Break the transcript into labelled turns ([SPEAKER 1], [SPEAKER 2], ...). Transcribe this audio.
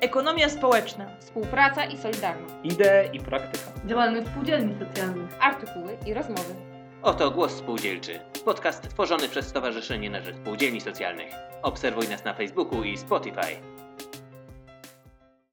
[SPEAKER 1] Ekonomia społeczna.
[SPEAKER 2] Współpraca i solidarność.
[SPEAKER 3] Idee i praktyka.
[SPEAKER 4] Działalność spółdzielni socjalnych.
[SPEAKER 2] Artykuły i rozmowy.
[SPEAKER 5] Oto Głos Spółdzielczy. Podcast tworzony przez Stowarzyszenie na Rzecz Spółdzielni Socjalnych. Obserwuj nas na Facebooku i Spotify.